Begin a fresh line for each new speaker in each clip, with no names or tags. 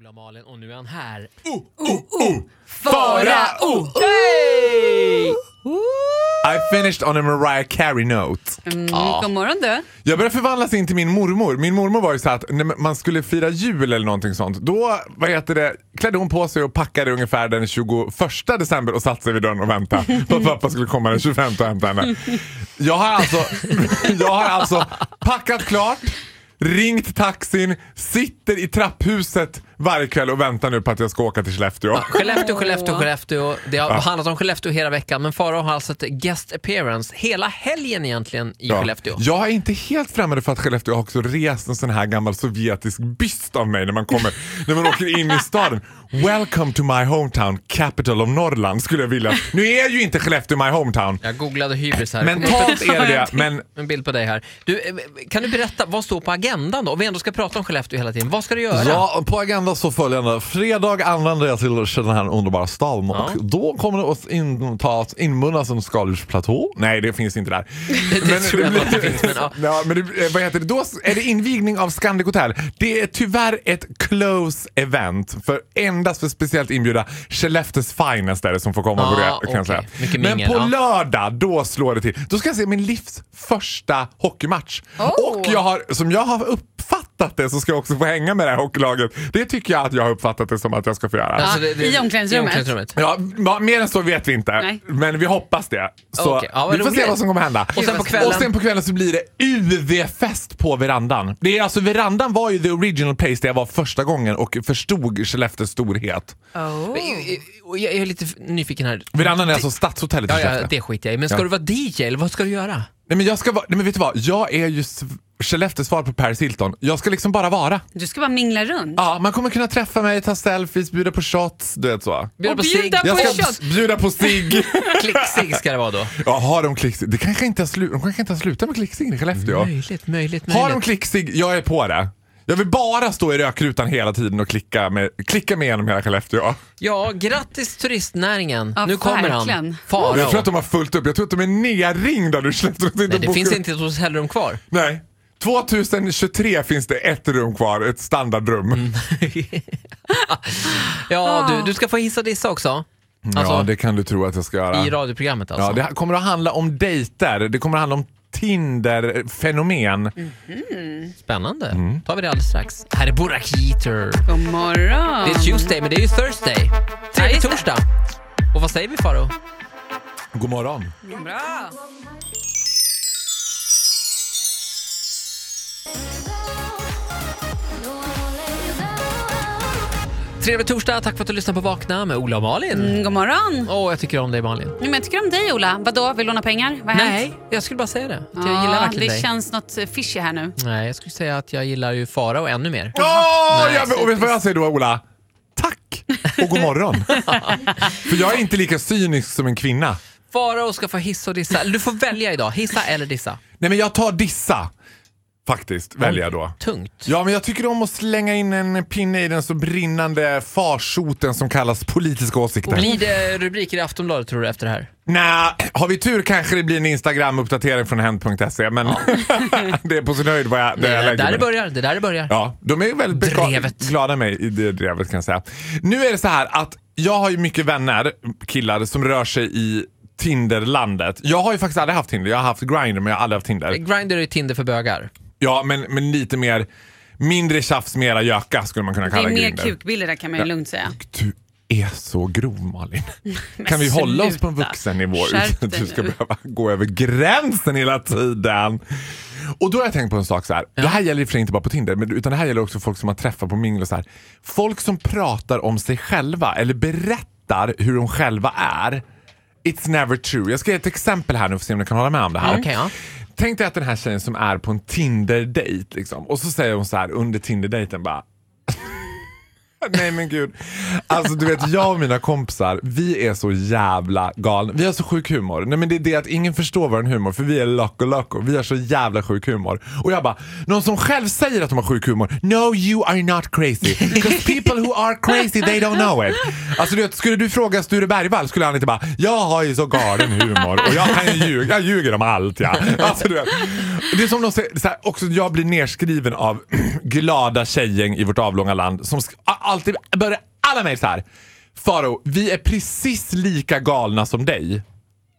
Ola Malen och nu är han här.
Farao!
I finished on a Mariah Carey note.
Mm, God morgon du.
Jag började förvandlas in till min mormor. Min mormor var ju så att när man skulle fira jul eller någonting sånt, då vad heter det, klädde hon på sig och packade ungefär den 21 december och satte sig vid dörren och väntade på att pappa skulle komma den 25 och hämta henne. Jag har alltså, jag har alltså packat klart, ringt taxin, sitter i trapphuset varje kväll och väntar nu på att jag ska åka till Skellefteå.
Skellefteå, Skellefteå,
Åh.
Skellefteå. Det har handlat om Skellefteå hela veckan, men Farao har alltså ett guest appearance hela helgen egentligen i
Ja.
Skellefteå.
Jag är inte helt främmande för att Skellefteå har också rest en sån här gammal sovjetisk byst av mig när man kommer, när man åker in i staden. Welcome to my hometown, capital of Norrland skulle jag vilja. Nu är ju inte Skellefteå my hometown.
Jag googlade hybris här. Kom
Mentalt
upp en-
är det det, men
En bild på dig här. Du, eh, kan du berätta, vad står på agendan då? Om vi ändå ska prata om Skellefteå hela tiden, vad ska du göra?
Ja, på agenda så följande. Fredag anländer jag till den här underbara staden
Ja.
och då kommer det att intas, inmunnas en skaldjursplatå.
nej det finns inte där.
Det tror jag inte finns, men ja.
ja, men det, eh, vad heter det? Då är det invigning av Scandic Hotel. Det är tyvärr ett close event för endast för speciellt inbjudna Skellefteås finest är det som får komma på det.
Ja,
Kan jag
Ah, okej.
säga.
Mycket
men
mingel,
på
ja.
lördag, då slår det till. Då ska jag se min livs första hockeymatch. Och jag har, som jag har uppfattat det så ska jag också få hänga med det här hockeylaget. Det tycker jag att jag har uppfattat det som att jag ska få göra.
Alltså,
i omklädsrummet.
i omklädsrummet.
Ja, ma- mer än så vet vi inte.
Nej.
Men vi hoppas det. Så
Okej, ja, vad
vi får
roligt.
se vad som kommer hända.
Och sen på kvällen-
Och sen på kvällen så blir det UV-fest på verandan. Det är alltså, verandan var ju the original place där jag var första gången och förstod Skellefteås storhet.
Men, eh, och Jag jag är lite f- nyfiken här.
Verandan är alltså stadshotellet i
Ja,
Skellefteå.
ja, det skiter jag i. Men ska
Ja.
du vara DJ eller vad ska du göra?
Nej, men jag ska vara, nej men vet du vad? Jag är ju sv- Skellefteås svar på Paris Hilton. Jag ska liksom bara vara.
Du ska bara mingla runt.
Ja, man kommer kunna träffa mig, ta selfies, bjuda på shots, du vet så.
Bjuda
Och
på cigg,
bjuda
Jag
på
ska
shots.
bjuda på cigg.
klick-cigg ska det vara då.
Jaha, de, klicks, det kanske inte har slu, de kanske inte har slutat med klicksing i Skellefteå.
Möjligt, möjligt,
Har de
möjligt.
klicksig, jag är på det. Jag vill bara stå i rökrutan hela tiden och klicka, med, klicka mig igenom hela Skellefteå.
Ja, grattis turistnäringen.
Ja,
nu kommer han.
verkligen.
Farao.
Jag tror att de har fullt upp. Jag tror att de är nerringda nu. Skellefteå inte
Nej, det
bokar
finns
upp.
inte ett hotellrum kvar.
Nej. 2023 finns det ett rum kvar, ett standardrum.
Mm.
Ah.
Ja, du, du ska få hissa och dissa också. Alltså,
Mm, ja, det kan du tro att jag ska göra.
I radioprogrammet alltså.
ja, det kommer att handla om dejter. Det kommer att handla om Tinder-fenomen.
Spännande.
Mm.
tar vi det alldeles strax. Här är Burak Jeter.
God morgon.
Det är Tuesday, men det är ju Thursday. Tredje
Ah. just det.
torsdag. Och vad säger vi Faro?
God morgon.
Bra.
Trevlig torsdag. Tack för att du lyssnar på Vakna med Ola och Malin.
Mm, God morgon.
Åh, jag tycker om dig Malin.
Jo, men jag tycker om dig Ola. Vadå, vill du låna pengar? Vad har hänt?
Nej, jag skulle bara säga det. Att jag
Ja,
gillar verkligen
Ah, Det
dig.
känns något eh, fishy här nu.
Nej, jag skulle säga att jag gillar ju Farao ännu mer.
Ja,
Nej,
jag, och vet du vad jag säger då Ola? Tack och god morgon. För jag är inte lika cynisk som en kvinna.
Farao ska få hissa och dissa. Du får välja idag. Hissa eller dissa.
Nej men jag tar dissa. Faktiskt, väljer jag då.
Tungt.
Ja men jag tycker om att slänga in en pinne i den så brinnande farsoten som kallas politiska åsikter.
Blir det rubriker i Aftonbladet tror du efter det här?
Nä, har vi tur kanske det blir en Instagram-uppdatering från hent.se E, men det är på sin höjd vad jag, det
Det
jag
är
lägger
där det
mig.
börjar. Det är där det börjar.
Ja, de är ju väldigt beka-
Drevet.
glada mig i det drevet kan jag säga. Nu är det så här att jag har ju mycket vänner, killar, som rör sig i Tinderlandet. Jag har ju faktiskt aldrig haft Tinder. Jag har haft Grindr men jag har aldrig haft Tinder.
Grindr är ju Tinder för bögar.
Ja, men, men lite mer, mindre tjafs, mera göka skulle man kunna
Det
kalla
är mer
Grindr.
kukbilder där kan man ju lugnt säga.
Du är så grov Malin. kan vi hålla oss på en
sluta.
vuxennivå
Skärp
utan att
dig
du ska
nu.
behöva gå över gränsen hela tiden? Och då har jag tänkt på en sak så här. Det här gäller i och för sig inte bara på Tinder, men, utan det här gäller också folk som man träffar på mingel och så här. Folk som pratar om sig själva eller berättar hur de själva är. It's never true. Jag ska ge ett exempel här nu för att se om ni kan hålla med om det
Mm.
här.
Okej, ja.
Tänk dig att den här tjejen som är på en Tinder-dejt liksom, och så säger hon så här under Tinder-dejten bara Nej men gud. Alltså du vet jag och mina kompisar, vi är så jävla galna. Vi har så sjuk humor. Nej men det är det att ingen förstår vår humor för vi är loco loco. Vi har så jävla sjuk humor. Och jag bara, någon som själv säger att de har sjuk humor. No you are not crazy. Because people who are crazy they don't know it. Alltså du vet, skulle du fråga Sture Bergvall skulle han inte bara, jag har ju så galen humor och jag kan ju ljuga. Jag ljuger om allt ja. Alltså du vet. Det är som de säger, så här, också jag blir nerskriven av glada tjejgäng i vårt avlånga land som sk- a- a- alltid börjar alla mejl så här. Faro, vi är precis lika galna som dig.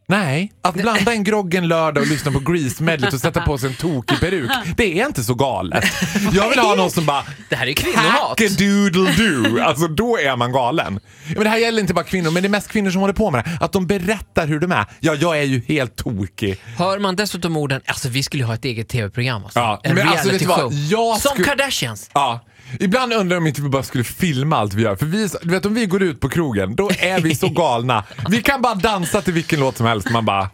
Nej, att blanda en grogg en lördag och lyssna på Grease-medlet och sätta på sig en tokig peruk, det är inte så galet. Jag vill ha någon som bara
Det här är ju kvinnohat.
Hackadoodle-doo. Alltså då är man galen. Ja, Men det här gäller inte bara kvinnor, men det är mest kvinnor som håller på med det här. Att de berättar hur de är. Ja, jag är ju helt tokig.
Hör man dessutom orden, alltså vi skulle ju ha ett eget tv-program alltså.
Ja,
En
men alltså, vet
reality
du vad?
show.
Jag
Som
skulle-
Kardashians.
Ja. Ibland undrar jag om inte vi bara skulle filma allt vi gör. För vi, är så- du vet om vi går ut på krogen, då är vi så galna. Vi kan bara dansa till vilken låt som helst. Man bara,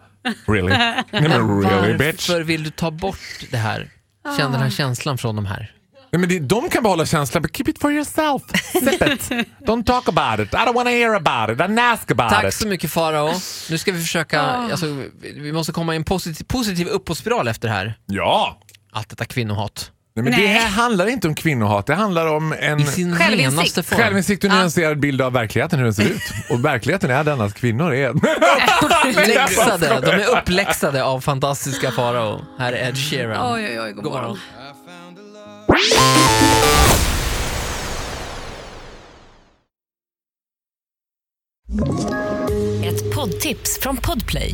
really? Nej men really bitch.
Varför vill du ta bort det här? Känn den här känslan från de här.
Nej, men det, de kan behålla känslan, but keep it for yourself. Zip it. Don't talk about it. I don't wanna hear about it. I don't ask about
Tack
it.
så mycket Farao. Nu ska vi försöka, alltså, vi vi måste komma i en positiv, positiv uppåtspiral efter det här.
Ja.
Allt detta kvinnohat.
Nej, men
Nej.
Det här handlar inte om kvinnohat, det handlar om en
I sin
Självinsikt.
renaste form.
självinsikt och nyanserad bild av verkligheten, hur den ser ut. Och verkligheten är den att kvinnor är...
Läxade. De är uppläxade av fantastiska Farao. Här är Ed Sheeran.
Oj, oj, oj, god, morgon.
Ett poddtips från Podplay.